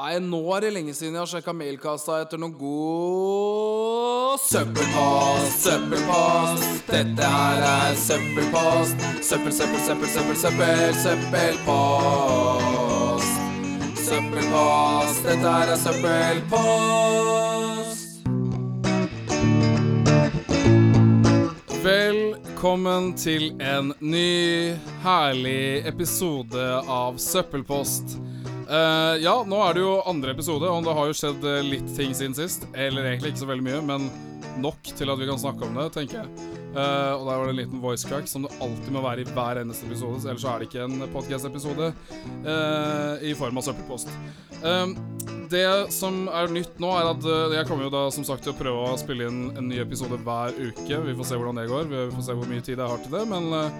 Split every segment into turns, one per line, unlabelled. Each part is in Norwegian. Nei, nå er det lenge siden jeg har sjekka mailkassa etter noen god søppelpost. Søppelpost. Dette her er søppelpost. Søppel, søppel, søppel, søppel, søppel, søppelpost. Søppelpost. Dette her er søppelpost. Velkommen til en ny, herlig episode av Søppelpost. Eh, ja, nå er det jo andre episode, og det har jo skjedd eh, litt ting siden sist. Eller egentlig ikke så veldig mye, men nok til at vi kan snakke om det, tenker jeg. Eh, og der var det en liten voice crack som det alltid må være i hver eneste episode, så ellers så er det ikke en podcast-episode eh, i form av søppelpost. Eh, det som er nytt nå, er at eh, jeg kommer jo da som sagt til å prøve å spille inn en ny episode hver uke. Vi får se hvordan det går, vi får se hvor mye tid jeg har til det. Men eh,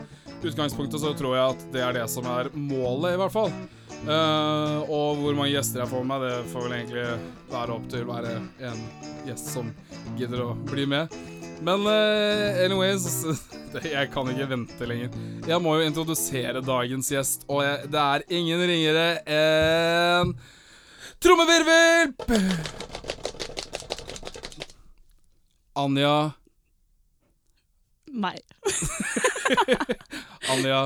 utgangspunktet så tror jeg at det er det som er målet, i hvert fall. Eh, og hvor mange gjester jeg får med meg, det får vel egentlig være opp til hver en gjest som gidder å bli med. Men eh, anyways det- Jeg kan ikke vente lenger. Jeg må jo introdusere dagens gjest, og jeg, det er ingen ringere enn Trommevirvel! Anja
Meg.
Anja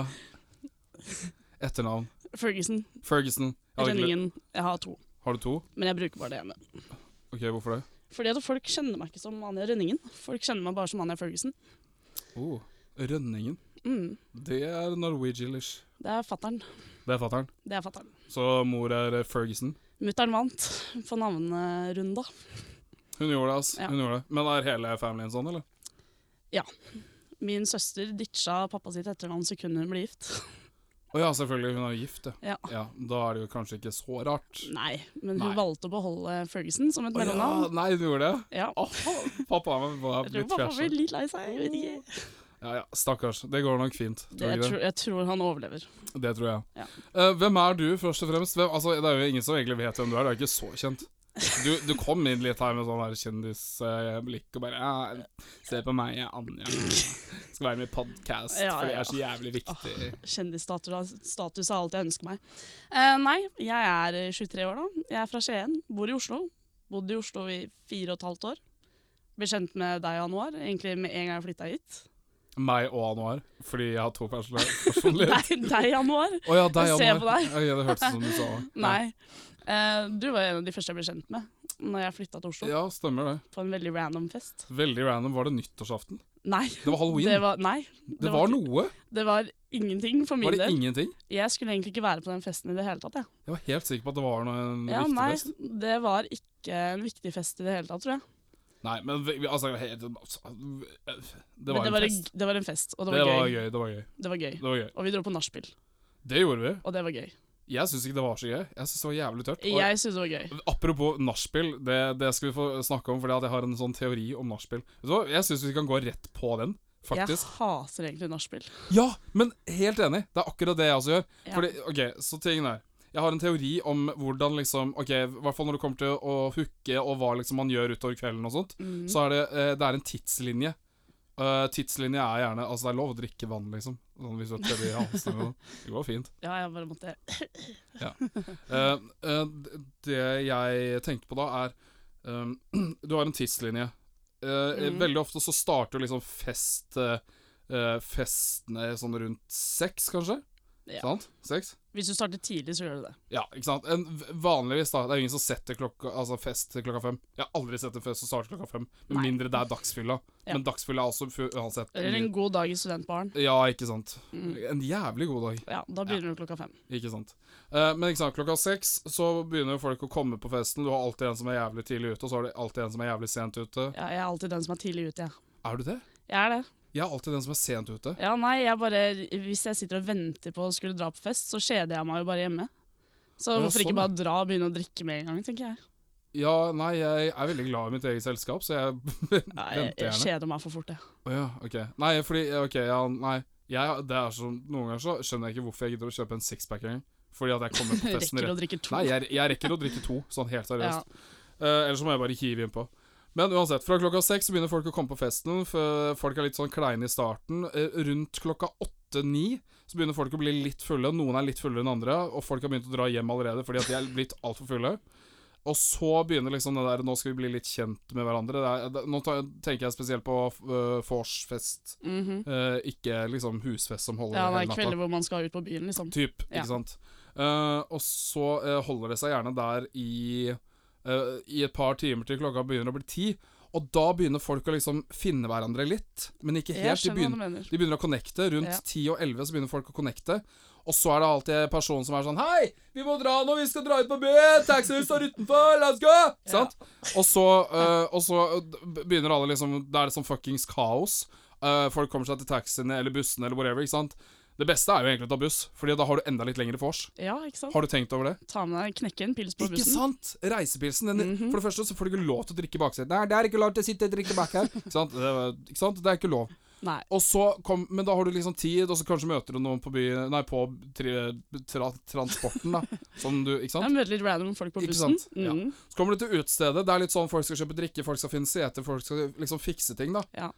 Etternavn.
Ferguson.
Ferguson. Jeg hadde
Eller
ikke-
ingen. Jeg har to,
Har du to?
men jeg bruker bare det ene.
Ok, Hvorfor det?
Fordi at folk kjenner meg ikke som Anja Rønningen. Folk kjenner meg bare som Anja Ferguson.
Oh, Rønningen.
Mm.
Det er norwegianish.
Det er fattern.
Det er fatter'n.
Det er fattern.
Så mor er eh, Ferguson.
Mutter'n vant på navnerunda.
Hun gjorde det, ass.
Ja.
Hun gjorde det. Men er hele familien sånn, eller?
Min søster ditcha pappa sitt etternavn sekundet hun ble gift.
Å ja, selvfølgelig. Hun er jo gift, ja.
Ja.
ja. Da er det jo kanskje ikke så rart.
Nei, men hun
Nei.
valgte å beholde Ferguson som et
Å ja,
mellomnavn.
nei, hun gjorde det?
Ja.
Åh, pappa var var
Jeg tror
litt
pappa
fresher.
blir litt lei seg. Jeg vet ikke.
Ja, ja, stakkars. Det går nok fint.
Det,
Tror
jeg,
du ikke
tror, jeg tror han overlever.
det? Det tror jeg.
Ja.
Eh, hvem er du, først og fremst? Hvem, altså, det er jo ingen som egentlig vet hvem du er. Du er ikke så kjent. Du, du kom inn litt her med sånn der kjendisblikk og bare ja, 'Se på meg, jeg er Anja. Skal være med i podkast
Ja,
fordi jeg
ja.
er så jævlig viktig'.
Kjendisstatus status er alt jeg ønsker meg. Eh, nei, jeg er eh, 23 år da. Jeg er fra Skien, bor i Oslo. Bodde i Oslo i fire og et halvt år. Ble kjent med deg i januar, egentlig med en gang jeg flytta hit.
Meg og Anuar, fordi jeg har to personer personligheter.
Nei, deg i januar?
Å ja, deg,
Jeg ser på
Anuar.
deg.
Ja, det hørtes ut som du sa det.
Nei. Eh, du var en av de første jeg ble kjent med når jeg flytta til Oslo.
Ja, stemmer det.
På en veldig random fest.
Veldig random. Var det nyttårsaften?
Nei.
Det var halloween.
Det var, nei,
Det,
det var
var
ikke-
noe.
det var ingenting for min
Var det
del.
ingenting?
Jeg skulle egentlig ikke være på den festen i det hele tatt. Jeg.
Jeg var helt sikker på at det var noe, en
Ja,
viktig
nei,
fest.
det var ikke en viktig fest i det hele tatt, tror jeg.
Nei, men vi, vi- altså, helt, altså Det
Men
var
det,
en
var
fest.
det var en fest, og
Det
det
var,
var, gøy.
gøy. Det var gøy.
Det var gøy.
Det var gøy.
Og vi dro på nachspiel,
Det gjorde vi.
og det var gøy.
Jeg syns ikke det var så gøy. Jeg syns det var jævlig tørt. Og
Jeg syntes det var gøy.
Apropos nachspiel, det, det skal vi få snakke om, fordi at jeg har en sånn teori om nachspiel. Vet du hva? Jeg syns vi kan gå rett på den, faktisk.
Jeg hater egentlig nachspiel.
Ja, men helt enig. Det er akkurat det jeg også gjør.
Ja.
Fordi, ok, så tingen er Jeg har en teori om hvordan liksom Ok, i hvert fall når det kommer til å hooke og hva liksom man gjør utover kvelden og sånt,
Mhm.
så er det, eh, det er en tidslinje. Eh, tidslinje er gjerne Altså, det er lov å drikke vann, liksom. Sånn, hvis du har tørre i halsen eller noe. sånn. Det går fint.
Ja, jeg bare måtte
Eh, eh, d- det jeg tenkte på da, er um, Du har en tidslinje. Eh, eh,
Mhm.
Veldig ofte så starter jo liksom fest eh, eh, Festene sånn rundt seks, kanskje?
Ja.
Sant? Seks?
Hvis du starter tidlig, så gjør du det.
Ja, ikke sant? En, v- vanligvis da, det er ingen som setter klokka, altså fest til klokka fem. Jeg har aldri sett en fest som starter klokka fem, med
Nei.
mindre det er dagsfylla.
Ja.
Men dagsfylla er også fu- uansett.
Eller en god dag i studentbaren.
Ja, ikke sant.
Mm.
En jævlig god dag,
Ja, da begynner du klokka fem.
ikke sant. Eh, men ikke sant, klokka seks så begynner jo folk å komme på festen. Du har alltid en som er jævlig tidlig ute, og så har du alltid en som er jævlig sent ute.
Ja, jeg er alltid den som er tidlig ute, jeg.
Er du det?
Jeg er det.
Jeg er alltid den som er sent ute.
Ja, nei, jeg bare Hvis jeg sitter og venter på å skulle dra på fest, så kjeder jeg meg jo bare hjemme. Så
Ja,
hvorfor
sånn,
ikke bare dra og begynne å drikke med en gang, tenker jeg.
Ja, nei, jeg er veldig glad i mitt eget selskap, så jeg
Nei, jeg,
venter
jeg
gjerne.
kjeder meg for fort, jeg.
Å ja, ok. Nei, fordi Ok, ja, nei. Jeg, det er som, noen ganger så skjønner jeg ikke hvorfor jeg gidder å kjøpe en sixpack engang. Fordi at jeg kommer på festen
Rekker
rett
å drikke to.
Nei, jeg, jeg rekker å drikke to, sånn helt
ja.
seriøst. Eh, Ellers så må jeg bare hive innpå. Men uansett, fra klokka seks så begynner folk å komme på festen. For folk er litt sånn kleine i starten. Eh, Rundt klokka åtte-ni så begynner folk å bli litt fulle. Noen er litt fullere enn andre, og folk har begynt å dra hjem allerede fordi at de er blitt altfor fulle. Og så begynner liksom det der Nå skal vi bli litt kjent med hverandre. Det er, det, nå ta- tenker jeg spesielt på uh, vorsfest.
Mhm.
Eh, ikke liksom husfest som holder
Ja, det
hele
er
natta.
kvelder hvor man skal ut på byen, liksom.
Typ,
Ja.
ikke sant. Eh, og så eh, holder det seg gjerne der i, eh, i et par timer til klokka begynner å bli ti. Og da begynner folk å liksom finne hverandre litt, men ikke
Jeg
helt. De
skjønner hva du
begynner,
mener.
de begynner å connecte.
Ja.
Rundt ti og elleve så begynner folk å connecte. Og så er det alltid en person som er sånn Hei, vi må dra nå, vi skal dra ut på byen! Taxien står utenfor, la oss gå! Ikke
Ja.
Sant? Og så, eh, og så eh, begynner alle liksom Da er det sånn fuckings kaos. Eh, folk kommer seg til taxiene eller bussene eller whatever. ikke sant? Det beste er jo egentlig å ta buss, Fordi da har du enda litt lengre vors.
Ja, ikke sant?
Har du tenkt over det?
Ta med deg, knekke en pils på
Ikke
bussen. Mhm.
sant? Reisepilsen. Den, For det første så får du ikke lov til å drikke i baksetet. Nei, det er ikke lov til å sitte og drikke bak her. ikke, sant? Det, ikke sant? Det er ikke lov.
Nei.
Og så kom, men da har du liksom tid, og så kanskje møter du noen på byen Nei, på tri, tra, transporten, da. Som du Ikke sant?
Jeg møter litt random folk på
Ikke
bussen.
sant? Ja.
Mhm.
Så kommer du til utestedet. Det er litt sånn folk skal kjøpe drikke, folk skal finne sete, folk skal liksom fikse ting, da.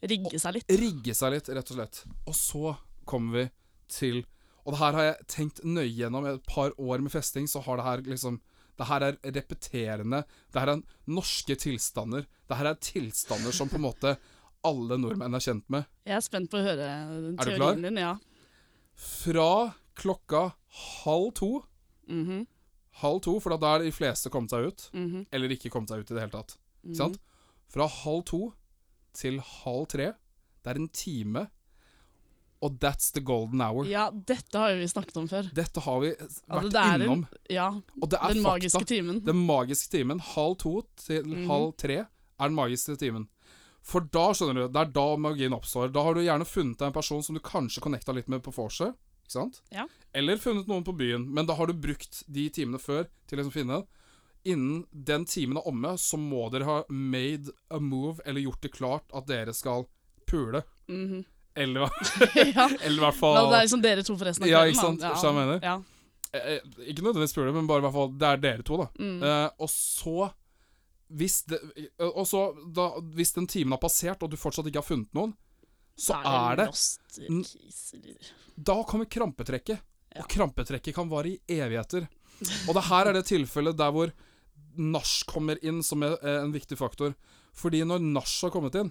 Rigge seg litt.
rigge seg litt, rett og slett. Og så kommer vi til Og det her har jeg tenkt nøye gjennom et par år med festing, så har det her liksom Det her er repeterende. Det her er norske tilstander. Det her er tilstander som på en måte alle nordmenn er kjent med.
Jeg er spent på å høre
Er du klar?
teorien din. Ja.
Fra klokka halv to
Mhm,
Halv to, for da er de fleste kommet seg ut.
mhm,
Eller ikke kommet seg ut i det hele tatt.
mhm.
Ikke sant? Fra halv to til halv tre. Det er en time. Og that's the golden hour.
Ja, dette har jo vi snakket om før.
Dette har vi vært
det er en-
innom.
Ja,
Og det er
Den magiske
fakta.
timen.
Den magiske timen, halv to til
Mhm.
halv tre, er den magiske timen. For da skjønner du, det er da magien oppstår. Da har du gjerne funnet deg en person som du kanskje connecta litt med på vorset. Ikke sant?
Ja.
Eller funnet noen på byen. Men da har du brukt de timene før til liksom å finne den. Innen den timen er omme, så må dere ha made a move, eller gjort det klart at dere skal pule.
Mhm.
Eller,
ja.
eller i hvert
Men
fall
det er liksom dere to forresten. av
Ja,
kvelden,
ikke
da.
sant?
Ja.
Skjønner du hva jeg mener?
Ja.
Eh, eh, Ikke nødvendigvis pule, men bare i hvert fall Det er dere to, da.
Mm.
Eh, og så hvis, det, eh, og så da, hvis den timen har passert, og du fortsatt ikke har funnet noen, så er det
lost
Mm.
kisler.
Da kommer krampetrekket.
Ja.
Og krampetrekket kan vare i evigheter. Og det her er det tilfellet der hvor nach kommer inn som er, eh, en viktig faktor. Fordi når nach har kommet inn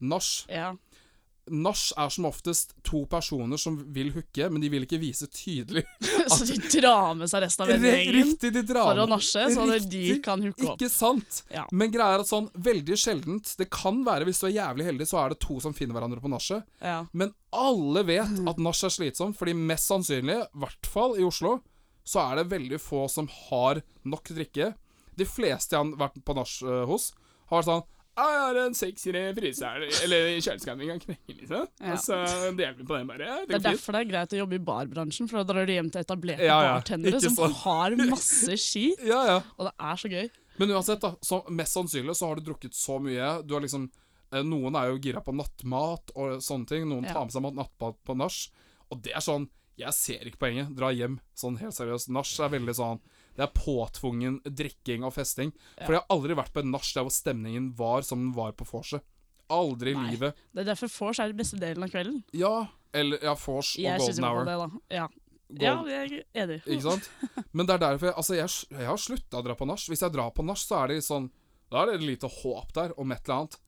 Nach
Ja.
nach er som oftest to personer som vil hooke, men de vil ikke vise tydelig
Så de drar med seg resten av vennegjengen
Riktig, de drar
for å
med.
nasje, så at de
Riktig.
kan hooke opp.
Ikke sant?
Ja.
Men greia er at sånn, veldig sjeldent Det kan være, hvis du er jævlig heldig, så er det to som finner hverandre på nachet.
Ja.
Men alle vet
Mm.
at nach er slitsom, fordi mest sannsynlig, i hvert fall i Oslo, så er det veldig få som har nok drikke. De fleste jeg har vært på nach eh, hos, har vært sånn «Ah, jeg har en sekser i fryseren, eller i kjøleskapet, jeg kan knekke, liksom.
Ja.
Og så deler vi på den, bare. går
Det er
fint.»
derfor det er greit å jobbe i barbransjen, for da drar du hjem til etablerte
Ja, ja.
bartendere
Ikke
som
sant?
har masse skit,
Ja, ja.
og det er så gøy.
Men uansett, da, så mest sannsynlig så har du drukket så mye Du har liksom eh, Noen er jo gira på nattmat og sånne ting. Noen
Ja.
tar med seg mat- nattmat på nach. Og det er sånn Jeg ser ikke poenget. Dra hjem. Sånn helt seriøst. Nach er veldig sånn Det er påtvungen drikking og festing. For jeg har aldri vært på en nach der hvor stemningen var som den var på vorset. Aldri i
Nei.
livet.
Det er derfor vors er den beste delen av kvelden.
Ja. Eller ja, vors og
Jeg syns
golden
jo på
hour.
det, da. Ja, ja
Gold,
jeg er enig.
Ikke sant? Men det er derfor jeg, altså jeg, jeg har slutta å dra på nach. Hvis jeg drar på nach, så er det litt sånn Da er det lite håp der om et eller annet.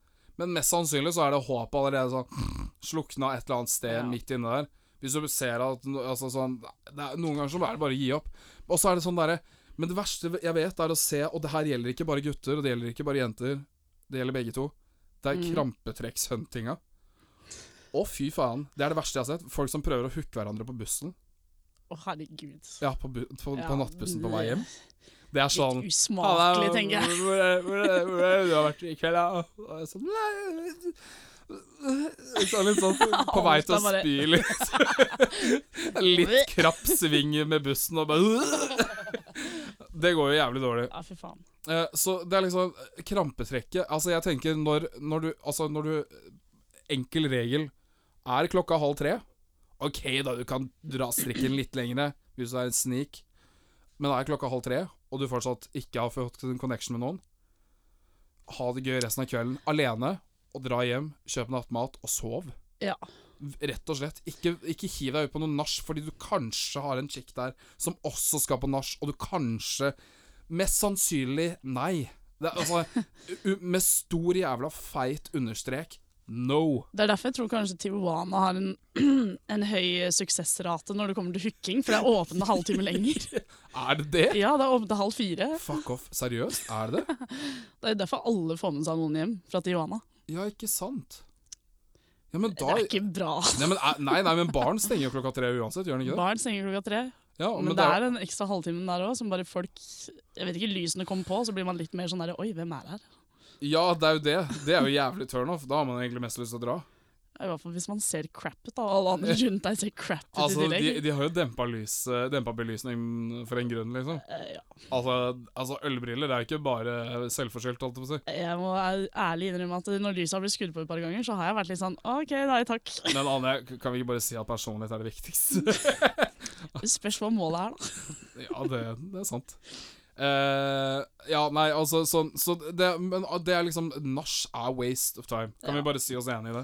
Men mest sannsynlig så er det håp allerede sånn slukna et eller annet sted
Ja.
midt inne der. Hvis du ser at no- altså sånn, det er, Noen ganger så er det bare å gi opp. Og så er det sånn derre Men det verste jeg vet, er å se Og det her gjelder ikke bare gutter, og det gjelder ikke bare jenter. Det gjelder begge to. Det er
Mm.
krampetrekkshuntinga. Å, fy faen. Det er det verste jeg har sett. Folk som prøver å hooke hverandre på bussen.
Å, herregud.
Ja, på, bu på,
Ja,
på nattbussen på vei hjem. Det er sånn
Litt usmakelig, tenker jeg.
Hvor er hvor er- hvor er det du har vært i kveld, da? Og jeg er Sånn, «Nei, litt sånn- litt sånn på vei til å
Alt er bare-
spy litt. Litt krapp sving med bussen og bare Det går jo jævlig dårlig.
Ja, fy faen.
Eh, Så det er liksom eh, krampetrekket Altså, jeg tenker når, når du Altså, når du Enkel regel Er klokka halv tre? Ok, da, du kan dra strikken litt lengre hvis du er en snik. Men er klokka halv tre, og du fortsatt ikke har fått en connection med noen, ha det gøy resten av kvelden alene, og dra hjem, kjøpe nattmat og sov.
Ja.
V- Rett og slett. Ikke, ikke hiv deg ut på noe nach, fordi du kanskje har en chick der som også skal på nach, og du kanskje Mest sannsynlig nei. Det er, altså, u- med stor jævla feit understrek no.
Det er derfor jeg tror kanskje Tijuana har en, en høy suksessrate når det kommer til hooking, for det er åpent en halvtime lenger.
Er det det?
Ja, det er åpent til halv fire.
Fuck off. Seriøst, er det det?
Det er derfor alle får med seg noen hjem fra Tijuana.
Ja, ikke sant? Ja, men
Det
da
er ikke bra.
Nei, men, er- nei, nei, men barn stenger jo klokka tre uansett, gjør den ikke det?
Barn stenger klokka tre.
Ja,
Men, det er en ekstra halvtime der òg, som bare folk Jeg vet ikke, lysene kommer på, så blir man litt mer sånn der Oi, hvem er her?
ja, det er jo det. Det er jo jævlig turnoff. Da har man egentlig mest lyst til å dra.
I hvert fall hvis man ser crap ut, da. Alle andre rundt deg ser crap ut
Altså,
i tillegg.
de, de har jo dempa, lys, dempa belysningen for en grunn, liksom.
Eh, ja.
Altså, altså ølbriller det er jo ikke bare selvforskyldt, holdt jeg på å si.
Jeg må æ- ærlig innrømme at når lyset har blitt skrudd på et par ganger, så har jeg vært litt sånn OK, nei takk.
Men Anja, kan vi ikke bare si at personlighet er det viktigste?
Det spørs hva målet er, da.
ja, det, det er sant. Eh, ja, nei, altså sånn så det, Men det er liksom Nach er waste of time. Kan
Ja.
vi bare si oss enige i det?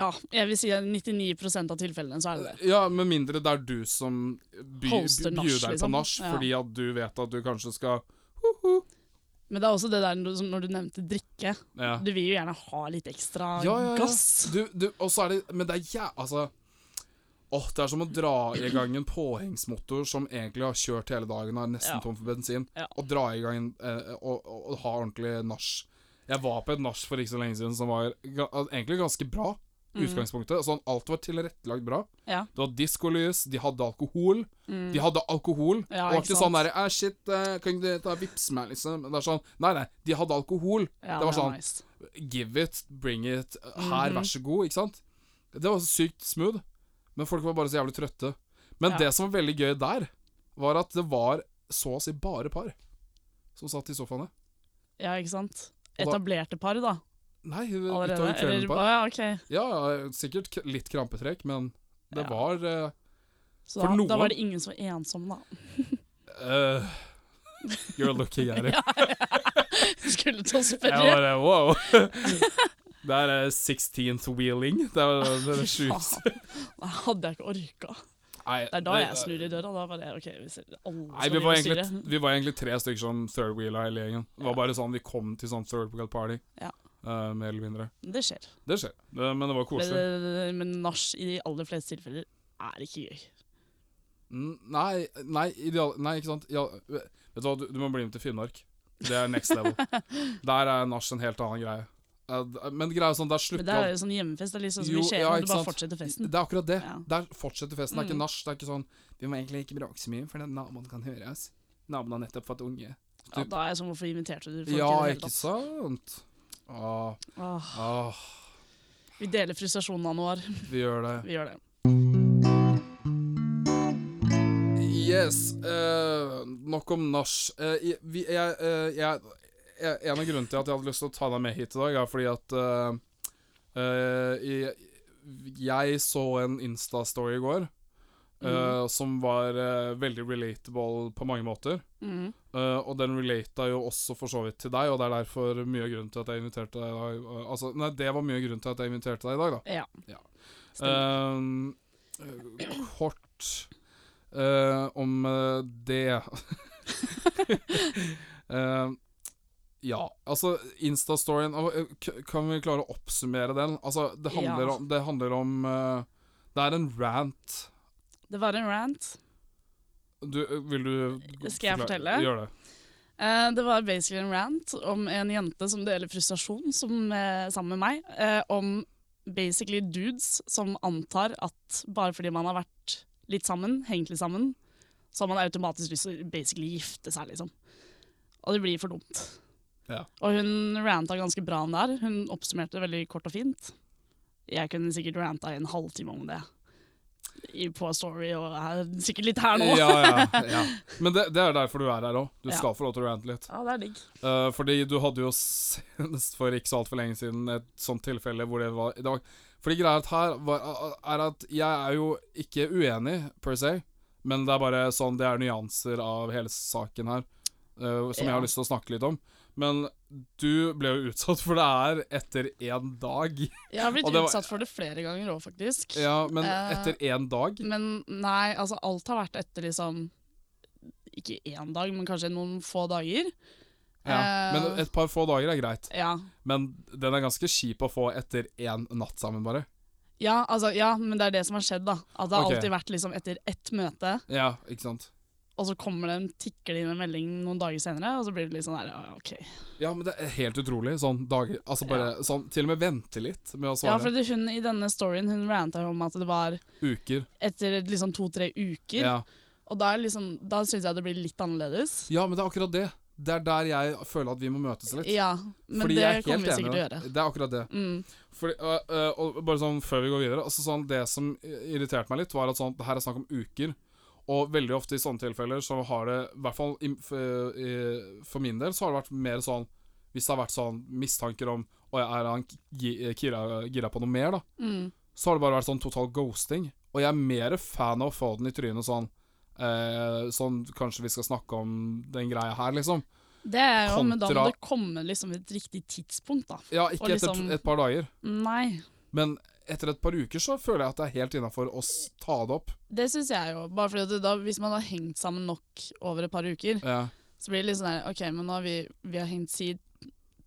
Ja, jeg vil si at 99 av tilfellene så er det det.
Ja, med mindre det er du som by,
Hoster
by,
nach,
byr deg på
liksom.
nach,
Ja.
fordi at du vet at du kanskje skal
Men det er også det der når du, som når du nevnte drikke.
ja.
Du vil jo gjerne ha litt ekstra
Ja, ja, ja.
gass.
du, du, Og så er det Men det er jæ... Altså Åh, det er som å dra i gang en påhengsmotor som egentlig har kjørt hele dagen og er nesten
Ja.
tom for bensin,
Ja.
og dra i gang en, eh, og, og, og ha ordentlig nach. Jeg var på et nach for ikke så lenge siden som var ga, egentlig ganske bra. i Utgangspunktet. Sånn, alt var tilrettelagt bra.
Mhm. Ja.
Det var diskolys, de hadde alkohol.
Mm.
De hadde alkohol.
Ja,
det var
ikke
ikke
sant.
sånn derre «Eh, Shit, eh, kan ikke du ta vips meg, liksom? Det er sånn Nei, nei, de hadde alkohol.
Ja,
det var
er
sånn.
nice.
Give it, bring it.
Mhm.
Her, vær så god. Ikke sant? Det var så sykt smooth. Men folk var bare så jævlig trøtte. Men
Ja.
det som var veldig gøy der, var at det var så å si bare par som satt i sofaene.
Ja, ikke sant.
Og da-
Etablerte par, da.
Nei, utover
Allerede. Eller,
kvelden
å,
par.
ja, ok.
Ja, ja, sikkert k- litt krampetrekk, men det
Ja.
var eh,
Så
For
da, da
noen-
var det ingen som var ensomme, da.
eh, You're looking at it.
Skulle til å
Jeg bare
spørre.
wow. Det er eh, 16th wheeling. Det er det er det sjukeste.
Faen. Det hadde jeg ikke orka.
Nei,
Det er da jeg snur i døra. Da var det OK, vi ser alle
Nei, vi var,
skal drive og
egentlig,
styre.
vi var egentlig tre stykker som third wheela hele gjengen. Det var
Ja.
bare sånn vi kom til sånn third wheel party.
Ja.
eh, mer eller mindre.
Det skjer.
Det skjer. Det, men det var koselig.
Men- Men nach i de aller fleste tilfeller er ikke gøy.
Mm, Nei, nei, ideal, nei ikke sant ja, Vet du hva, du, du må bli med til Finnmark. Det er next level. Der er nach en helt annen greie. Eh, d- Men greia er sånn, der
Men
slutter
det er jo sånn hjemmefest. Det er litt sånn som
Jo,
i Skien,
ja,
hvor
ikke
du bare
sant.
fortsetter festen.
Det er akkurat det.
Ja.
Der fortsetter festen. Det er ikke
Mm.
nach. Det er ikke sånn Vi må egentlig ikke bråke så mye, for den naboen kan høres. Naboen har nettopp fått unge.
Ja, da er jeg sånn, hvorfor inviterte du folk
Ja,
i det hele
ikke
tatt?
sant? Åh,
Åh,
åh,
vi deler frustrasjonen av noe år.
vi gjør det.
Vi gjør det.
Yes. eh, nok om nach. Eh, i- vi- jeg, eh, jeg, jeg- en av grunnene til at jeg hadde lyst til å ta deg med hit i dag, er fordi at eh, eh, jeg, jeg så en Insta-story i går eh,
Mhm.
som var eh, veldig relatable på mange måter.
Mm.
Eh, og den relata jo også for så vidt til deg, og det er derfor mye av grunnen til at jeg inviterte deg i dag. eh, altså, nei, det var mye av grunnen til at jeg inviterte deg i dag, da.
Ja.
Ja.
Stemmer.
Eh, eh, kort eh, om eh, det Eh, Ja, altså Insta-storyen og, eh, k- Kan vi klare å oppsummere den? Altså, det handler
Ja.
om, det, handler om eh, det er en rant.
Det var en rant.
Du, eh, vil du
Skal jeg
forklare-
fortelle?
Gjør det.
Eh, det var basically en rant om en jente som deler frustrasjon som, eh, sammen med meg, eh, om basically dudes som antar at bare fordi man har vært litt sammen, hengt litt sammen, så har man automatisk lyst til å basically gifte seg, liksom. Og det blir for dumt.
Ja.
Og hun ranta ganske bra om det her. Hun oppsummerte det veldig kort og fint. Jeg kunne sikkert ranta i en halvtime om det. I, på Story og er sikkert litt her nå.
Ja, ja, ja. Men det, det er derfor du er her òg. Du
Ja.
skal få lov til å rante litt.
Ja, det er digg.
Eh, fordi du hadde jo senest for ikke så altfor lenge siden et sånt tilfelle hvor det var, det var Fordi greia at her var, er at jeg er jo ikke uenig, per se, men det er bare sånn Det er nyanser av hele saken her. eh, som jeg
Ja.
har lyst til å snakke litt om. Men du ble jo utsatt for det her etter én dag.
Jeg har blitt
Og det var-
utsatt for det flere ganger òg, faktisk.
Ja, men
Eh.
etter én dag?
Men nei, altså alt har vært etter liksom Ikke én dag, men kanskje noen få dager.
Ja. Men
Eh.
et par få dager er greit.
Ja,
Men den er ganske kjip å få etter én natt sammen, bare.
ja, altså, ja men det er det som har skjedd, da. At det har
Ok.
alltid vært liksom etter ett møte,
Ja, ikke sant?
og så kommer det en tikker det inn en melding noen dager senere, og så blir det litt sånn der, ja, OK.
Ja, men det er helt utrolig. Sånn dager Altså bare sånn Til og med vente litt med å
Ja,
svare.
fordi hun i denne storyen hun ranta jo om at det var
Uker.
etter liksom to-tre uker.
Ja.
Og da, er liksom, da syns jeg det blir litt annerledes.
ja, men det er akkurat det. Det er der jeg føler at vi må møtes litt.
Ja, men
Fordi jeg er helt
det kommer vi
enig i
sikkert til å
det.
gjøre.
Det er akkurat det.
Mm.
Fordi, øh, øh, og bare sånn før vi går videre altså sånn, Det som irriterte meg litt, var at sånn, det her er snakk om uker. Og veldig ofte i sånne tilfeller så har det, i hvert fall i, for, i, for min del, så har det vært mer sånn Hvis det har vært sånn mistanker om Å, ja, er han gi- gira, gira på noe mer, da?
Mm.
Så har det bare vært sånn total ghosting. Og jeg er mer fan av å få den i trynet sånn eh, Sånn Kanskje vi skal snakke om den greia her, liksom.
Det er jo, men da må
Kontra-
det komme liksom et riktig tidspunkt, da.
Ja, ikke
Og
etter
liksom-
t- et par dager.
Nei,
Men etter et par uker så føler jeg at det er helt innafor å s- ta det opp.
det syns jeg jo. Bare fordi at det da, Hvis man har hengt sammen nok over et par uker,
Ja.
så blir det litt sånn der OK, men nå har vi, vi har hengt si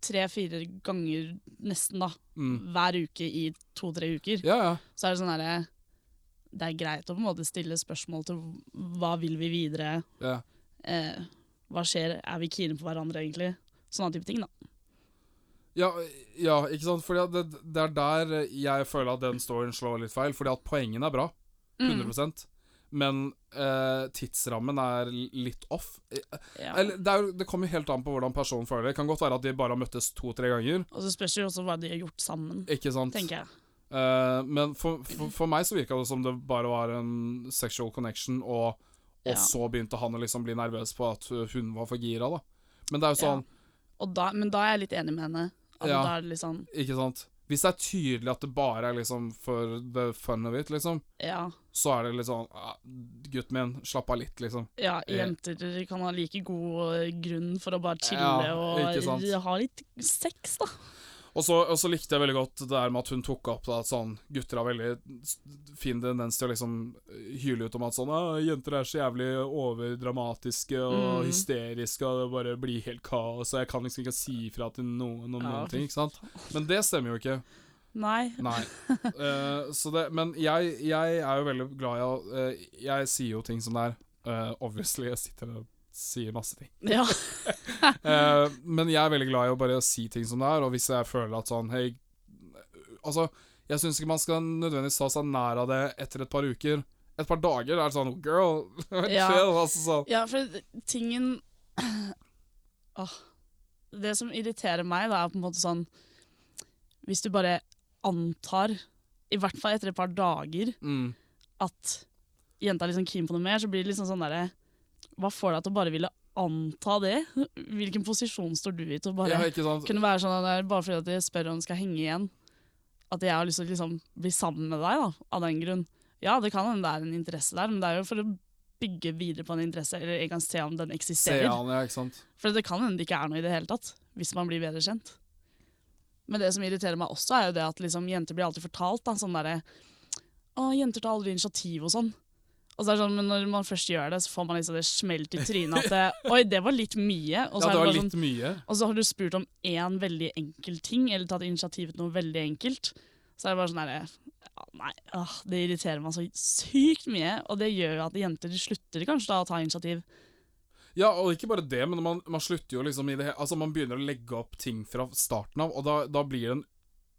tre-fire ganger nesten, da.
Mm.
Hver uke i to-tre uker.
Ja, ja.
Så er det sånn derre Det er greit å på en måte stille spørsmål til hva vil vi videre,
ja.
eh, hva skjer, er vi kine på hverandre egentlig? Sånne type ting, da.
Ja, ja, ikke sant? Fordi at det, det er der jeg føler at den storyen slår litt feil, fordi at poengene er bra,
Mm.
100 Men eh, tidsrammen er l- litt off. Eh,
Ja.
Eller, det, er, jo- det kommer jo helt an på hvordan personen føler det. Det kan godt være at de bare har møttes to-tre ganger.
Og så spørs det jo også hva de har gjort sammen,
Ikke sant?
tenker jeg.
Eh, men for, for, for meg så virka det som det bare var en sexual connection, og, og
Ja.
så begynte han å liksom bli nervøs på at hun var for gira, da. Men det er jo
Ja.
sånn
Og da, men da er jeg litt enig med henne. At
Ja.
da er det litt sånn
Ikke sant? Hvis det er tydelig at det bare er liksom for the fun of it, liksom,
Ja,
så er det litt sånn ah, Gutten min, slapp av litt, liksom.
ja
Eh.
jenter kan ha like god eh, grunn for å bare chille
Ja, ikke sant.
og r- ha litt sex, da.
Og så, og så likte jeg veldig godt det der med at hun tok opp da, at sånn Gutter har veldig s- fin tendens til å liksom hyle ut om at sånn ah, 'Jenter er så jævlig overdramatiske og
Mm.
hysteriske, og det bare blir helt kaos, og jeg kan liksom ikke si ifra til noen om
Ja,
noen ting', ikke sant? Men det stemmer jo ikke.
Nei.
Nei. Eh, så det, men jeg, jeg er jo veldig glad i å eh, Jeg sier jo ting som det er. Eh, obviously, jeg sitter og sier masse ting.
Ja.
Eh, men jeg er veldig glad i å bare si ting som det er, og hvis jeg føler at sånn Hei Altså, jeg syns ikke man skal nødvendigvis ta seg nær av det etter et par uker. Et par dager er det sånn Girl,
Ja.
chill, altså sånn.
ja, for tingen Åh. Det som irriterer meg, da, er på en måte sånn Hvis du bare antar, i hvert fall etter et par dager,
Mm.
at jenta er liksom keen på noe mer, så blir det liksom sånn derre Hva får deg til å bare ville anta det? Hvilken posisjon står du i til å bare
Ja, ikke sant?
kunne være sånn at det er bare fordi at jeg spør om jeg skal henge igjen, at jeg har lyst til å liksom bli sammen med deg, da, av den grunn. Ja, det kan hende det er en interesse der, men det er jo for å bygge videre på en interesse, eller engang se om den
Se
eksisterer.
an, ja, ikke sant.
For det kan hende det ikke er noe i det hele tatt, hvis man blir bedre kjent. Men det som irriterer meg også, er jo det at liksom, jenter blir alltid fortalt da, sånn derre Å, jenter tar aldri initiativ og sånn. Og så er det sånn, Men når man først gjør det, så får man liksom det smelt i trynet at det, Oi, det var litt mye. Og
Ja,
så er
det
det
var
bare sånn,
litt mye.
og så har du spurt om én veldig enkel ting, eller tatt initiativ til noe veldig enkelt. Så er det bare sånn herre ja, Nei, åh, det irriterer meg så sykt mye. Og det gjør jo at jenter slutter kanskje da å ta initiativ.
Ja, og ikke bare det, men man, man slutter jo liksom i det he- Altså, man begynner å legge opp ting fra starten av, og da, da blir det en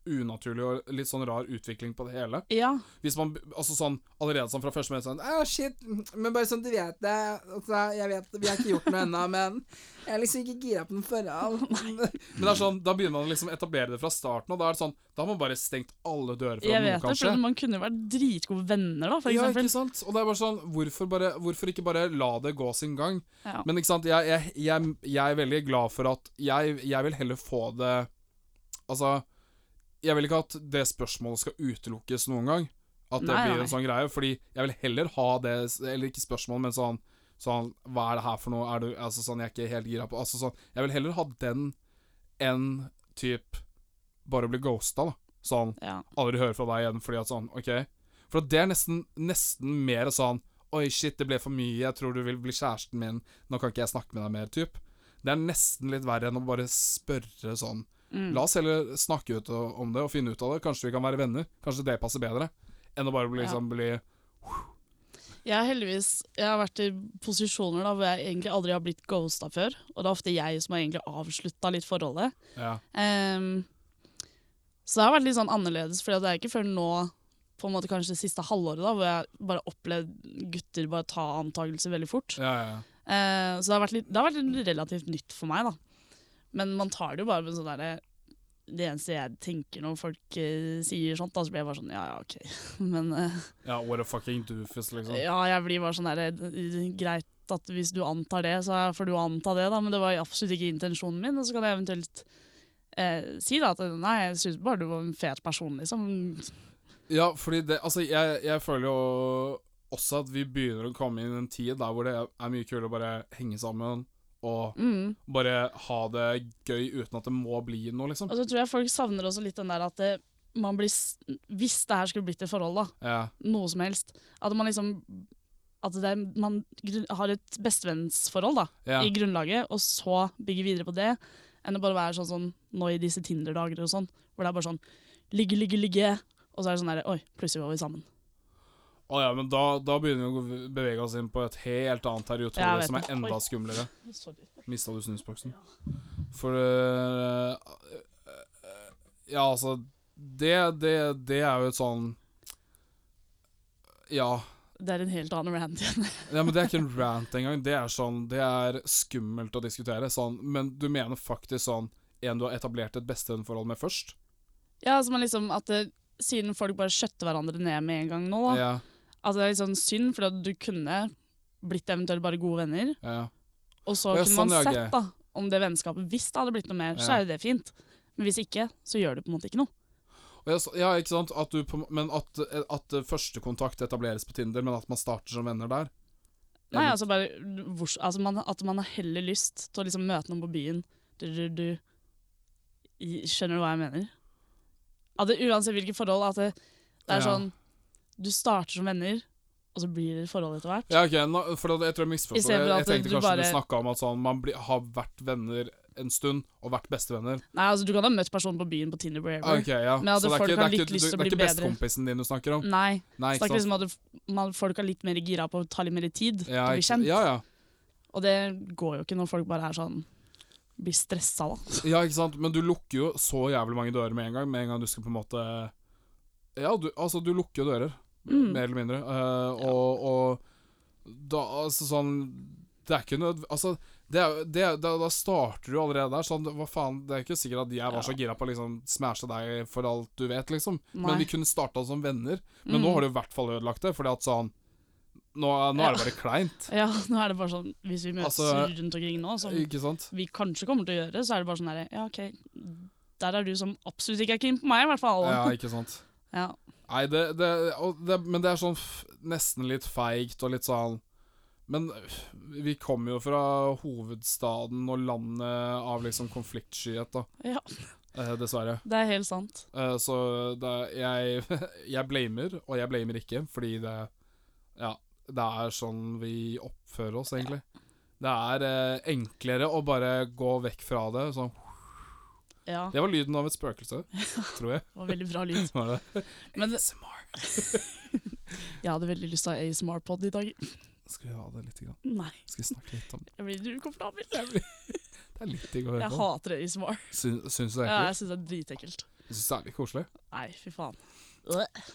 unaturlig og litt sånn rar utvikling på det hele.
Ja,
Hvis man b- altså sånn allerede sånn fra første møte sånn Å, shit, men bare sånn du vet det altså, Jeg vet vi har ikke gjort noe ennå, men jeg er liksom ikke gira på noe forhold. men det er sånn, da begynner man å liksom etablere det fra starten, og da er det sånn Da har man bare stengt alle dører fra
jeg
noe,
vet det,
kanskje.
for man kunne jo vært dritgode venner, da, for
Ja,
eksempel.
ikke sant? Og det er bare sånn, hvorfor, bare, hvorfor ikke bare la det gå sin gang?
Ja.
Men ikke sant, jeg, jeg, jeg, jeg er veldig glad for at jeg, jeg vil heller få det Altså, jeg vil ikke at det spørsmålet skal utelukkes noen gang. At det
Nei,
blir
nei.
en sånn greie. Fordi jeg vil heller ha det Eller ikke spørsmål, men sånn sånn Hva er det her for noe? Er du, altså sånn, Jeg er ikke helt gira på Altså sånn Jeg vil heller ha den enn typ bare bli ghosta, da. Sånn
Ja.
aldri høre fra deg igjen fordi at sånn OK. For at det er nesten, nesten mer sånn Oi, shit, det ble for mye. Jeg tror du vil bli kjæresten min. Nå kan ikke jeg snakke med deg mer, typ. Det er nesten litt verre enn å bare spørre sånn
Mm.
La oss heller snakke ut o- om det og finne ut av det. Kanskje vi kan være venner. Kanskje det passer bedre. Enn å bare bli,
Ja.
liksom, bli
Jeg har heldigvis jeg har vært i posisjoner da, hvor jeg egentlig aldri har blitt ghosta før. Og det er ofte jeg som har egentlig avslutta litt forholdet.
Ja.
Ehm, så det har vært litt sånn annerledes, for det er ikke før nå, på en måte kanskje det siste halvåret, da, hvor jeg bare opplevd gutter bare ta antakelser veldig fort.
Ja, ja, ja.
Eh, så det har, vært litt, det har vært relativt nytt for meg, da. Men man tar det jo bare med sånn derre Det eneste jeg tenker når folk eh, sier sånt, da, så blir jeg bare sånn ja, ja, ok. Men eh,
ja what a fucking doofus, liksom.
ja, jeg blir bare sånn der Greit at hvis du antar det, så får du anta det, da, men det var absolutt ikke intensjonen min. Og så kan jeg eventuelt eh, si da at nei, jeg syns bare du var en fet person, liksom.
Ja, fordi det Altså, jeg, jeg føler jo også at vi begynner å komme inn i en tid der hvor det er mye kulere å bare henge sammen og
Mm.
bare ha det gøy uten at det må bli noe, liksom.
Og så tror jeg folk savner også litt den der at eh, man blir s- Hvis det her skulle blitt et forhold, da,
Ja,
noe som helst, at man liksom at det er, man grunn- har et bestevennsforhold da,
ja.
i grunnlaget, og så bygge videre på det, enn å bare være sånn som nå i disse Tinder-dager og sånn, hvor det er bare sånn ligge, ligge, ligge, og så er det sånn der, oi, plutselig var vi sammen.
Å ja, men da, da begynner vi å bevege oss inn på et helt annet
Jeg
territorium
vet
som er
det.
enda
Oi.
skumlere.
Sorry.
Mista du snusboksen? For øh, øh, øh, Ja, altså det, det, det er jo et sånn Ja.
Det er en helt annen rant igjen.
Ja, men Det er ikke en rant engang. Det er sånn, det er skummelt å diskutere. Sånn, men du mener faktisk sånn en du har etablert et bestevennforhold med først?
Ja, altså man liksom at det, siden folk bare skjøtter hverandre ned med en gang nå, da,
Ja,
at det er litt sånn synd, for du kunne blitt eventuelt bare gode venner,
ja, ja.
Og så
Å, ja,
kunne
sånn,
man
ja,
sett da, om det vennskapet Hvis det hadde blitt noe mer, så
Ja.
er jo det fint. Men hvis ikke, så gjør det på en måte ikke noe.
Og jeg s- ja ikke sant? At du, på- men at, at førstekontakt etableres på Tinder, men at man starter som venner der? Ja,
Nei,
men-
altså bare hvor, altså man, At man har heller lyst til å liksom møte noen på byen. Du, du, du. I- Skjønner du hva jeg mener? At det, uansett hvilke forhold, at det, det er
Ja.
sånn Du starter som venner, og så blir det et forhold etter hvert.
Ja, ok, nå, for da- jeg tror jeg
I
misforsto.
stedet
Jeg,
for
jeg
at
tenkte
du
kanskje du
bare-
snakka om at sånn, man blir- har vært venner en stund, og vært bestevenner.
Nei, altså Du kan ha møtt personen på byen på Tinder. wherever.
Ah, Ok, ja.
Men
Så
at
det er
folk
ikke, det
har
er ikke,
litt
du, det
lyst til å
er
bli
ikke
bedre.
bestekompisen din du snakker om?
Nei.
Nei, ikke
Snakker
sant?
liksom at det- man, folk har litt mer gira på å ta litt mer tid til
Ja,
å bli
ikke,
kjent.
ja, ja.
Og det går jo ikke når folk bare er sånn blir stressa, da.
Ja, ikke sant? Men du lukker jo så jævlig mange dører med en gang. Med en gang du skal på en måte Ja, du, altså, du lukker jo dører,
Mm.
mer eller mindre. Eh, og, og da Altså, sånn Det er ikke nødv... Altså, det, er jo- det, er- da, da starter du allerede der. Sånn, hva faen Det er ikke sikkert at jeg var så gira på å liksom smashe deg for alt du vet, liksom.
Nei. Mm.
Men vi kunne starta som venner. Men nå har du i hvert fall ødelagt det, fordi at sånn Nå, nå er det bare kleint.
Ja, nå er det bare sånn Hvis vi møtes
Altså,
rundt omkring nå, som
Ikke sant?
vi kanskje kommer til å gjøre, så er det bare sånn derre Ja, OK, der er du som absolutt ikke er keen på meg, i hvert fall.
Ja,
Ja.
ikke sant. Nei, det, det, og det Men det er sånn f nesten litt feigt og litt sånn Men øh, vi kommer jo fra hovedstaden og landet av liksom konfliktskyhet, da.
Ja.
Eh, dessverre.
Det er helt sant.
Eh, så det, er- jeg, jeg blamer, og jeg blamer ikke, fordi det Ja, det er sånn vi oppfører oss, egentlig. Det er eh, enklere å bare gå vekk fra det. Sånn.
Ja, det
Det var lyden av et spøkelse, tror jeg.
var veldig bra lyd.
Var det?
Men det,
ASMR.
jeg hadde veldig lyst til å ha ASMR-pod i dag.
Skal vi ha det litt? Grann?
Nei,
Skal vi snakke litt om
jeg blir ukomfortabel.
Det er bli- det er litt digg å høre
Jeg
på.
hater ASMR.
Syn, syns du det er
Ja,
ekkelt?
jeg syns det er dritekkelt.
Jeg syns det er litt koselig.
Nei, fy faen.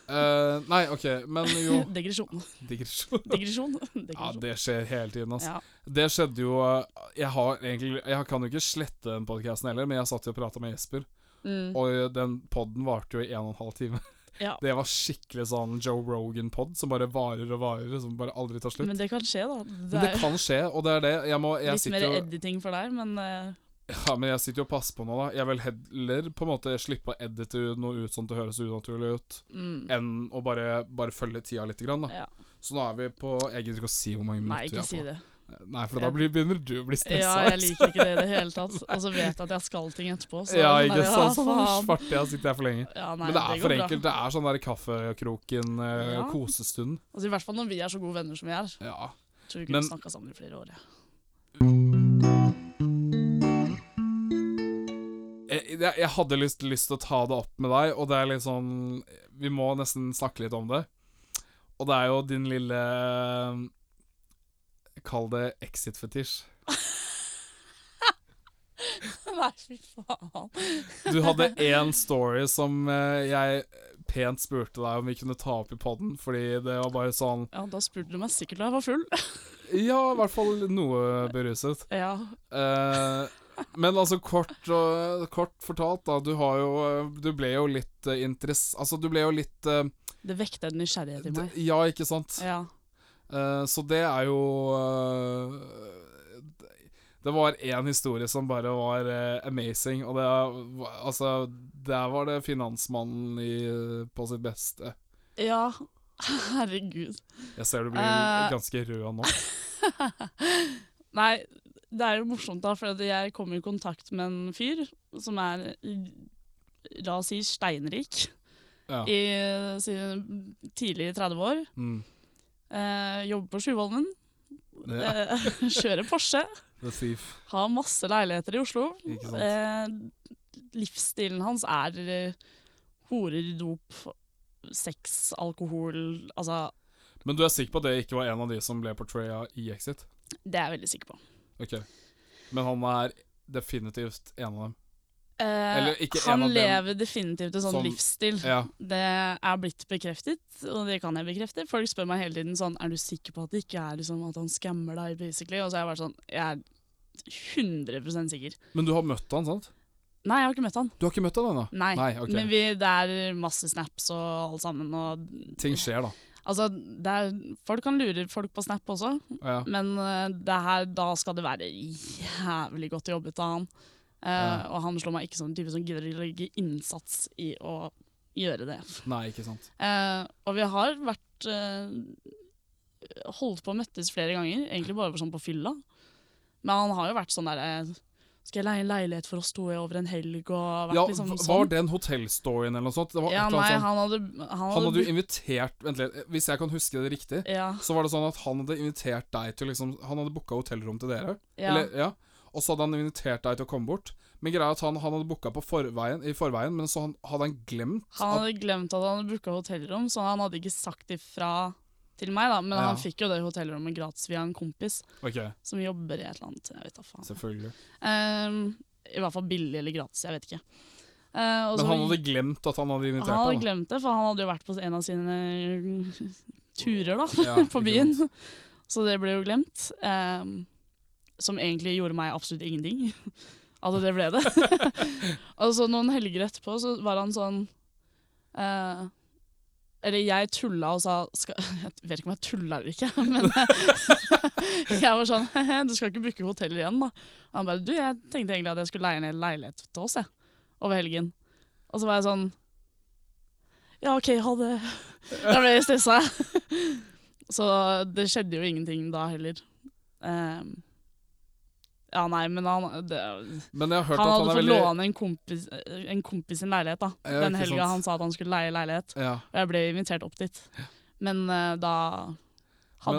Eh, nei, OK, men jo
Digresjon.
Digresjon.
Digresjon.
Ja,
Digresjon.
det skjer hele tiden, altså.
Ja.
Det skjedde jo eh, Jeg har egentlig Jeg kan jo ikke slette den podkasten heller, men jeg satt jo og prata med Jesper,
Mm.
og den poden varte jo i en og en halv time.
Ja.
Det var skikkelig sånn Joe Rogan-pod som bare varer og varer, som bare aldri tar slutt.
Men det kan skje, da.
Men det kan skje, og det er det. Jeg, må, jeg,
Litt mer
sitter, jo,
editing for deg, men eh,
ja, men jeg sitter jo og passer på nå, da. Jeg vil heller på en måte slippe å edite noe ut sånn at det høres unaturlig ut.
mm,
enn å bare, bare følge tida litt. Grann, da.
ja.
Så nå er vi på Jeg gidder ikke å si hvor mange
Nei,
minutter
ikke si
vi er på.
det.
Nei, for da blir, begynner du å bli stressa.
Ja, jeg liker ikke det i det hele tatt. Og så vet jeg at jeg skal ting etterpå. Så
Ja,
jeg er
ikke
sånn
sant?
der,
Sånn
ja, faen.
svarte jeg sitter her for lenge.
Ja, nei,
Men det er for
går bra.
enkelt. Det er sånn der kaffekroken, eh,
Ja.
kosestund.
Altså, I hvert fall når vi er så gode venner som vi er.
Ja.
Tror vi kunne
Men-
snakka sammen i flere år. Ja.
Jeg, jeg, jeg hadde lyst, lyst til å ta det opp med deg, og det er litt sånn Vi må nesten snakke litt om det. Og det er jo din lille Kall det exit-fetisj.
Nei, fy faen.
Du hadde én story som eh, jeg pent spurte deg om vi kunne ta opp i poden, fordi det var bare sånn
Ja, Da spurte du meg sikkert da jeg var full.
Ja, i hvert fall noe beruset.
Ja,
Eh, men altså, kort, og, kort fortalt, da. Du har jo eh, Du ble jo litt eh, interess... Altså, du ble jo litt eh,
Det vekta en nysgjerrighet i
d-
meg.
Ja, ikke sant?
Ja.
Eh, så det er jo eh, d- Det var én historie som bare var eh, amazing, og det er- va- Altså, der var det finansmannen i, på sitt beste.
ja. Herregud.
Jeg ser du blir
Eh.
ganske rød nå.
Nei, det er jo morsomt, da, for at jeg kom i kontakt med en fyr som er La oss si steinrik
Ja.
i sine tidlige 30 år.
Mm.
Eh, jobber på Sjuvholmen.
Ja.
Eh, kjører Porsche.
The Thief.
Har masse leiligheter i Oslo.
Ikke sant?
Eh, livsstilen hans er eh, horer, dop, sex, alkohol Altså,
Men du er sikker på at det ikke var en av de som ble portraya i Exit?
det er jeg veldig sikker på.
Ok. Men han er definitivt en av dem.
Eh,
Eller ikke en
han
av dem
lever definitivt en sånn
som-
livsstil.
Ja.
Det er blitt bekreftet, og det kan jeg bekrefte. Folk spør meg hele tiden sånn Er du sikker på at det ikke er liksom at han skammer deg, basically? Og så har jeg vært sånn Jeg er 100 sikker.
Men du har møtt han, sant?
Nei, jeg har ikke møtt han.
Du har ikke møtt han ennå?
Nei.
Nei, ok.
Men vi, det er masse snaps og alt sammen, og
Ting skjer, da.
Altså, det er, folk kan lure folk på Snap også,
Ja.
men eh, det her, da skal det være jævlig godt jobbet av han. Eh,
Ja.
Og han slår meg ikke som en type som gidder å legge innsats i å gjøre det.
Nei, ikke sant.
Eh, og vi har vært eh, holdt på å møttes flere ganger, egentlig bare sånn på fylla. Men han har jo vært sånn derre Skal jeg leie en leilighet for oss to over en helg? Og vært
Ja,
liksom
v-
sånn.
Var den hotellstoryen eller noe sånt? Det var et
Ja,
eller
nei,
annet sånt.
han hadde Han hadde,
Han hadde jo
brukt-
invitert Vent litt, eh, hvis jeg kan huske det riktig,
ja,
så var det sånn at han hadde invitert deg til liksom Han hadde booka hotellrom til dere.
ja.
Eller, ja. Og så hadde han invitert deg til å komme bort. Men greia er at han, han hadde booka på forveien, i forveien, men så han, hadde han glemt
Han
at
hadde glemt at han hadde booka hotellrom, så han hadde ikke sagt ifra til meg, da. Men
Ja.
han fikk jo det hotellrommet gratis via en kompis
Ok,
som jobber i et eller annet. Jeg vet da faen.
selvfølgelig.
Ehm, I hvert fall billig eller gratis, jeg vet ikke. Eh, og så-
Men han hadde glemt at han hadde invitert
han hadde
deg, da.
glemt det, for han hadde jo vært på en av sine turer, da.
Ja,
på
ikke
byen.
sant.
Så det ble jo glemt. ehm, som egentlig gjorde meg absolutt ingenting. Altså, det ble det. og så noen helger etterpå så var han sånn eh, Eller jeg tulla og sa skal, Jeg vet ikke om jeg tulla eller ikke, men jeg var sånn Du skal ikke booke hotell igjen, da. Og han bare Du, jeg tenkte egentlig at jeg skulle leie en hel leilighet til oss, jeg. Over helgen. Og så var jeg sånn Ja, OK, ha det. Da ble jeg stressa. Så det skjedde jo ingenting da heller. Ehm, ja, nei, men han det,
Men jeg har
Han
hørt at
hadde
han er
fått
veldig
låne en kompis, en kompis sin leilighet, da.
Ja,
Den
ikke
helga
sant.
han sa at han skulle leie leilighet.
Ja.
Og jeg ble invitert opp dit. Men eh, da hadde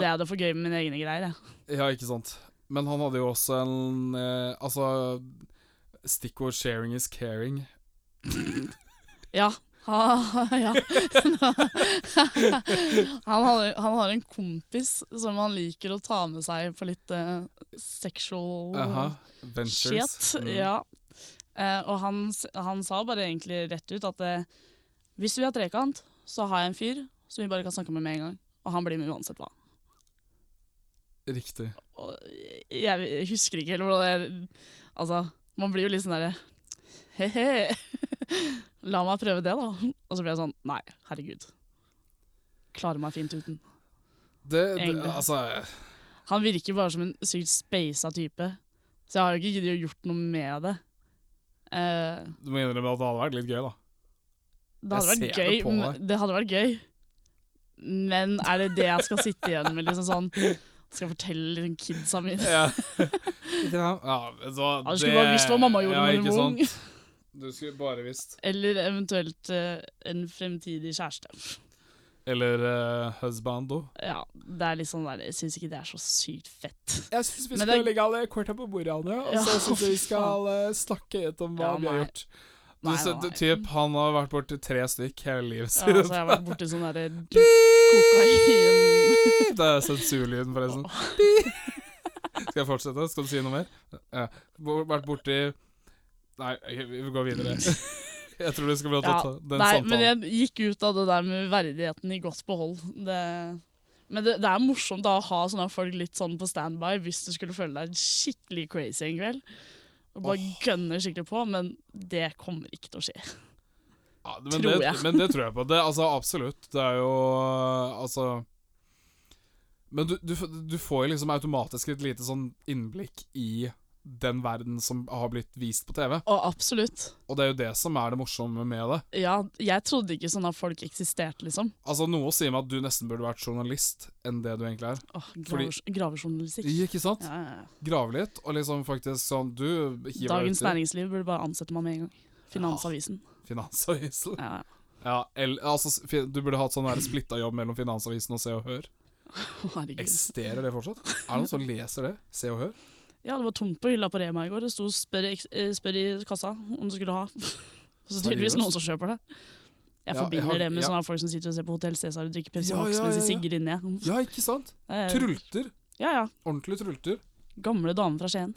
Men-
jeg det for gøy med mine egne greier, jeg.
ja, ikke sant. Men han hadde jo også en eh, Altså Stikkord 'sharing is caring'.
Ja. Ha, ja. han, har, han har en kompis som han liker å ta med seg på litt eh, sexual
Aha. Ventures.
Shit,
Mm.
ja. Eh, og han, s- han sa bare egentlig rett ut at eh, hvis vi har trekant, så har jeg en fyr som vi bare kan snakke med med en gang. Og han blir med uansett hva.
Riktig.
Og jeg husker ikke helt hvordan det Altså, man blir jo litt sånn derre He-he, la meg prøve det, da. Og så ble jeg sånn Nei, herregud. Klarer meg fint uten.
Det, det
Egentlig.
Altså
Han virker bare som en sykt speisa type. Så jeg har jo ikke giddet å gjort noe med det. Eh,
Du må innrømme at det hadde vært litt gøy, da.
Det hadde
Jeg
vært
ser
gøy.
det på
men- Det hadde vært gøy. Men er det det jeg skal sitte igjen med? Liksom sånn Skal jeg fortelle liksom kidsa mine?
Ja. ja, så
Ja, du skulle bare visst hva mamma gjorde
ja,
når
ikke
hun var
sant?
ung.
Du skulle bare visst.
Eller eventuelt eh, en fremtidig kjæreste.
Eller uh, husbando.
Ja, det er litt sånn der, Jeg syns ikke det er så sykt fett.
Jeg syns vi
Men skal det-
legge alle korta på bordet, Anja.
og Ja, så synes jeg vi fy skal, eh,
snakke litt om
hva Ja, vi har nei. gjort.
Du
Nei,
ser,
nei,
du,
nei.
typ, han har vært borti tre stykk hele livet
Ja, altså,
sitt.
jeg har vært borti sånn derre kokain
det er sensurlyden, forresten. Skal jeg fortsette? Skal du si noe mer? Ja. Bo- Vært borti Nei, ok, vi går videre. Jeg tror du skal bli
Ja,
tatt av den
Nei, men
samtalen.
jeg gikk ut av det der med verdigheten i godt behold. Det, men det, det er morsomt da, å ha sånne folk litt sånn på standby hvis du skulle føle deg skikkelig crazy en kveld. Og bare gønner skikkelig på, men det kommer ikke til å skje.
Ja, men,
tror
det,
jeg.
men det tror jeg på. Det, altså, absolutt. Det er jo Altså Men du, du, f- du får jo liksom automatisk et lite sånn innblikk i den verden som har blitt vist på TV.
Og absolutt.
Og det er jo det som er det morsomme med det.
Ja, jeg trodde ikke sånne folk eksisterte, liksom.
Altså, Noe sier meg at du nesten burde vært journalist enn det du egentlig er.
Åh,
Fordi-
graver, gravejournalistikk.
Ikke sant?
Ja, ja, ja.
Grave litt, og liksom faktisk sånn Du hiver
Dagens
deg ut
Næringsliv burde bare ansette meg med en gang. Finansavisen.
i Finansavisen.
Ja, ja.
Ja, eller, altså, s- fi- du burde hatt sånn der splitta jobb mellom Finansavisen og Se og Hør.
Å, Herregud.
Eksisterer det fortsatt? Er det noen som leser det? Se og Hør?
Ja, det var tomt på hylla på Rema i går. Det sto spør, i- eh, 'spør i kassa om du skulle ha'. Så tydeligvis
Seriøst?
noen som kjøper det. Jeg
Ja, jeg
forbinder
har-
det med
ja.
sånne folk som sitter og ser på Hotell Cæsar og drikker Pepsi
Ja,
Max
ja,
mens de
ja, ja.
sigger inni.
Ja, ikke sant?
Eh,
Trulter.
Ja, ja.
Ordentlig trulter.
Gamle dame fra Skien.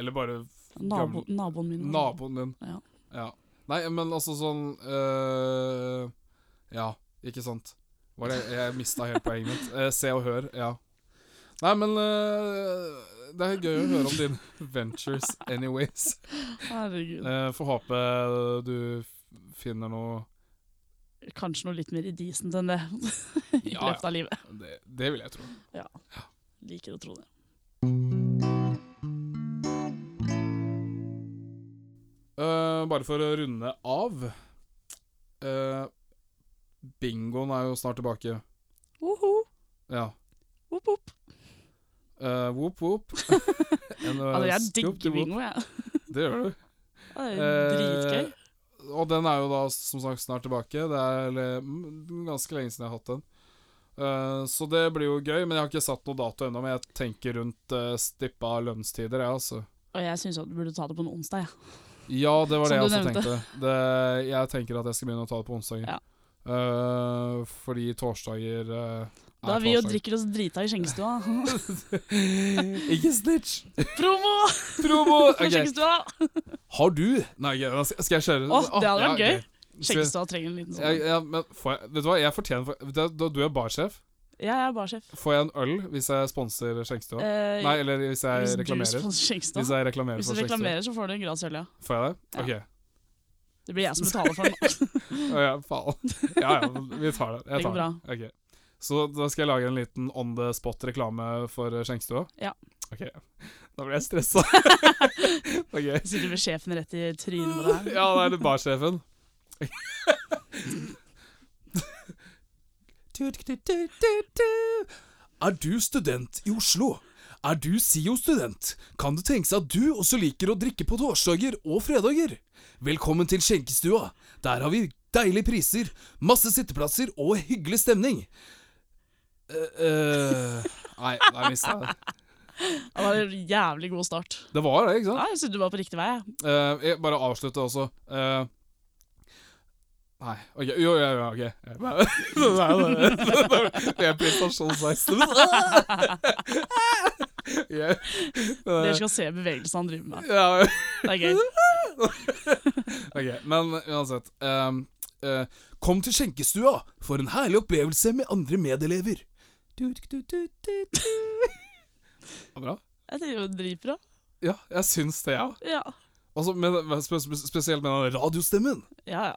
Eller bare
Nabo, naboen min.
naboen din.
Ja.
Ja. Nei, men altså sånn øh, Ja, ikke sant. Var det, jeg mista helt poenget mitt. Eh, se og hør, ja. Nei, men øh, det er gøy å høre om dine ventures anyways.
Herregud.
Eh, Får håpe du f- finner noe
Kanskje noe litt mer i decent enn det i
Ja,
løpet av livet.
ja. Det, det vil jeg tro.
Liker å tro det.
Eh, bare for å runde av eh, Bingoen er jo snart tilbake.
Woho!
Ja.
Woop, woop.
Eh, whoop, whoop. En, eh,
Altså, jeg
scoop
digger
til whoop.
bingo, jeg.
Det gjør du.
Det er dritgøy.
Eh, og den er jo da som sagt snart tilbake. Det er eller, mm, ganske lenge siden jeg har hatt den. Eh, så det blir jo gøy, men jeg har ikke satt noe dato ennå. Men jeg tenker rundt eh, stippa lønnstider, jeg, altså.
Og jeg syns du burde ta det på en onsdag, jeg.
Ja, det var det jeg
Som du
også
nevnte.
tenkte. Det, jeg tenker at jeg skal begynne å ta det på onsdager.
Ja.
Eh, fordi torsdager eh, er
Da er vi og
torsdager.
drikker oss drita i skjengestua.
Ikke snitch!
Promo!
Promo!
fra
Ok.
Skjeggestua!
Har du Nei, gøy, da skal skal jeg kjøre?
Åh, det hadde
ja,
vært gøy.
ok. Skal vi-
Skjeggestua trenger en liten
Jeg,
sånn.
jeg, men får jeg, vet du hva, jeg fortjener for, da, da du er barsjef,
Jeg er barsjef.
får jeg en øl hvis jeg sponser skjenkestua?
Eh,
Nei, eller hvis jeg
hvis du
reklamerer.
sponser
Hvis
Skjeggestua.
jeg reklamerer
Hvis du
for skjenkestua.
reklamerer, så får du en gratis øl, ja.
Får jeg det? Ok.
Det blir jeg som betaler for den.
Å ja, faen. Ja ja, vi tar det. Jeg
Det går
tar det.
bra.
Ok. Så da skal jeg lage en liten on the spot-reklame for skjenkestua?
Ja.
Ok. Da blir jeg stressa. ok.
Jeg sitter med sjefen rett i trynet på deg.
Ja, det er det barsjefen. Er du student i Oslo? Er du SIO-student? Kan det tenkes at du også liker å drikke på torsdager og fredager? Velkommen til skjenkestua. Der har vi deilige priser, masse sitteplasser og hyggelig stemning. Eh, eh, nei, nei, mista jeg det.
Det var en jævlig god start.
Det var det, ikke sant?
Nei, jeg synes du var på riktig vei. jeg.
Eh, jeg bare avslutte også. Eh, nei, ok. Jo, ja, ja, ok. Jeg bare- Nei, det- Det er prestasjonsangst. yeah.
Dere skal se bevegelsen han driver med.
ja.
Det er gøy.
Ok, men uansett. ehm, eh, kom til skjenkestua for en herlig opplevelse med andre medelever. Du, du, du, du, du. Ja, Bra.
Jeg tenker jo dritbra.
Ja, jeg syns det, jeg.
Ja.
Altså, men- men spe- spe- spesielt med den radiostemmen.
ja, ja.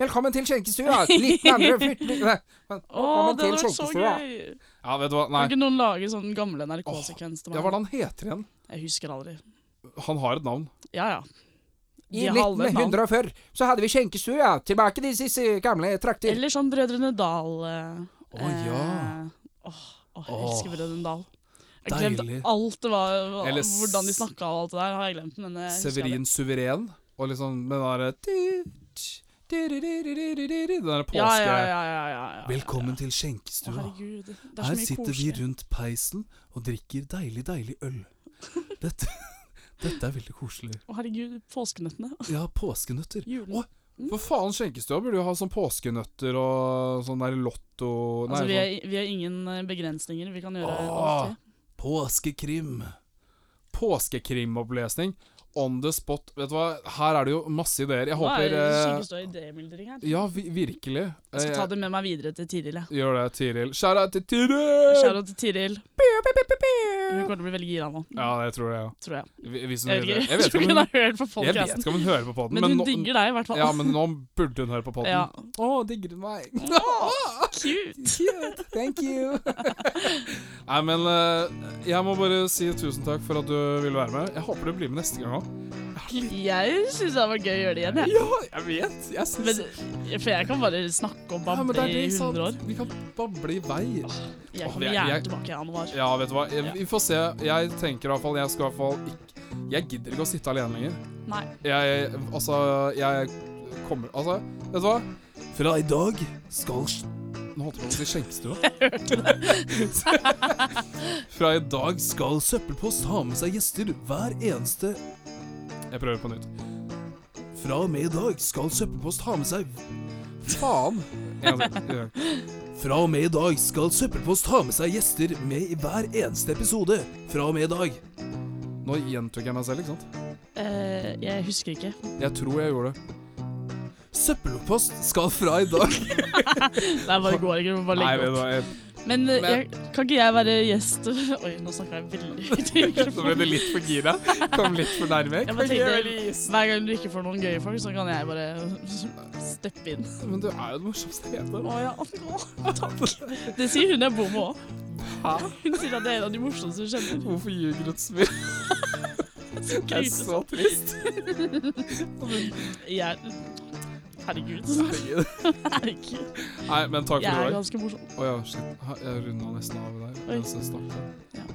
Velkommen til skjenkestua! 1914 Nei, men-
Å,
Velkommen
det
til
var så
skjenkestua.
gøy!
Ja, vet du hva,
Kan
nei.
ikke noen lage sånn gamle NRK-sekvens til
Ja, hva er
meg?
det han heter igjen?
Jeg husker aldri.
Han har et navn.
Ja, ja. De har alle et navn.
så hadde vi skjenkestua. Tilbake til disse gamle trakter.
Eller sånn Brødrene Dal. eh,
Å, ja.
eh, åh, Åh, jeg elsker
Åh,
Brødrene Dal. Jeg har
deilig.
glemt alt det var, hva-
Eller s-
hvordan de snakka og alt det der. har jeg glemt, men eh, jeg husker det.
Severin Suveren, og liksom med den derre Den derre påske...
Ja, ja, ja, ja, ja, ja.
Velkommen til
Å,
skjenkestua.
herregud. Det er så
Her
mye
sitter vi
koselig.
rundt peisen og drikker deilig, deilig øl. Dette, dette er veldig koselig.
Å, herregud. Påskenøttene.
Ja, påskenøtter.
Julen.
Åh, For faen, skjenkestua burde jo ha sånn påskenøtter og sånn der lotto... Nei,
altså, vi,
sånn-
er, vi har ingen eh, begrensninger. Vi kan gjøre
Åh.
alt. vi.
Påskekrim. Påskekrimopplesning. On the spot. Vet du hva, her er det jo masse ideer. Jeg
Nå er
håper
det
eh,
sykeste idémyldring her.
Ja, vi, virkelig.
Jeg skal
Eh,
ta det med meg videre til Tiril. jeg.
Gjør det, Tiril. Skjæra til Tiril!
Shout-out til Tiril. Hun kommer til å bli veldig gira nå,
Ja, det tror jeg òg.
tror jeg.
Hvis hun
Jeg vet
gjør det.
ikke,
Jeg
jeg
vet
tror
ikke om
ikke
hun,
hun har hørt på
jeg vet
podcasten.
ikke om hun hører på podden,
Men
men,
hun
nå,
digger deg i hvert fall.
ja, men nå burde hun høre på podden.
Ja.
Å, digger du meg?
Åh, Cute.
Cute. Thank you.
Nei, men eh, jeg må bare si tusen takk for at du ville være med. Jeg håper du blir med neste gang òg.
Jeg syns det var gøy å gjøre det igjen, jeg.
Ja, jeg vet. Jeg synes-
Men, for jeg kan bare snakke og
Ja, men
bable
det er
i
det, sant?
100 år.
Vi kan bable i vei.
Jeg
Åh,
kommer
jeg-
gjerne
jeg-
tilbake i januar.
Ja, vet du hva. Jeg,
Ja.
vi får se. Jeg tenker i hvert fall Jeg skal i hvert fall ikke Jeg gidder ikke å sitte alene lenger.
Nei.
Jeg Altså, jeg kommer Altså, vet du hva? Fra i dag skal s- Nå holdt jeg på å si skjenkestua. Fra i dag skal Søppelpost ha med seg gjester hver eneste Jeg prøver på nytt. Fra og med i dag skal Søppelpost ha med seg Faen. En gang til. En gang. Fra og med i dag skal Søppelpost ha med seg gjester med i hver eneste episode. Fra og med i dag. Nå gjentok jeg meg selv, ikke sant?
Eh, jeg husker ikke.
Jeg tror jeg gjorde det. Søppelpost skal fra i dag.
Nei, bare går ikke. vi må Bare legge opp. Men, eh,
Men-
jeg, kan ikke jeg være gjest Oi, nå snakka jeg veldig høyt. i
Så ble
mikrofonen.
det litt for gira. Kom litt for nærme.
Jeg bare tenkte, Hver gang du ikke får noen gøye folk, så kan jeg bare steppe inn.
Men du er jo den morsomste jeg vet.
Å, ja. å, Takk. Det sier hun jeg bor med òg.
Hæ?
Hun sier at det er en av de morsomste hun kjenner.
Hvorfor ljuger du et smil? Det er
Krise.
så trist.
Jeg Herregud.
Herregud.
Herregud.
Nei, men takk for i
Jeg er
dag.
ganske morsom.
Å ja, shit. Ha- Jeg runda nesten av der.
Oi.
mens jeg snakket.
Ja.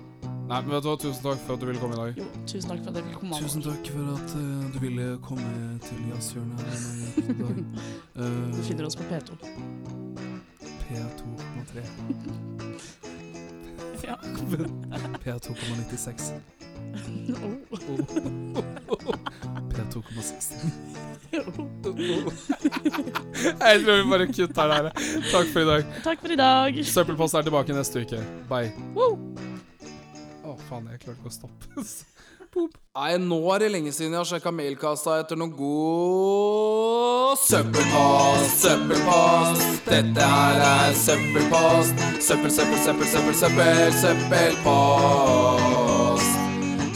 Nei, men vet du hva, tusen takk for at du ville komme i dag.
Jo, tusen takk for at jeg fikk komme.
Tusen takk for at eh, du ville komme til jazzhjørnet her med meg i dag.
Du
Eh,
finner oss på P2.
P2,3.
Ja.
P2,96.
Oh,
P2,16.
oh.
Jeg tror vi bare kutter der. Takk for i dag.
Takk for i dag.
Søppelpost er tilbake neste uke. Bye.
Woo.
Å, faen, jeg klarte ikke å stoppe. Boop. Nei, nå er det lenge siden jeg har sjekka mailkassa etter noe god søppelpost, søppelpost. Dette her er søppelpost. Søppel, søppel, søppel, søppel, søppel, søppelpost.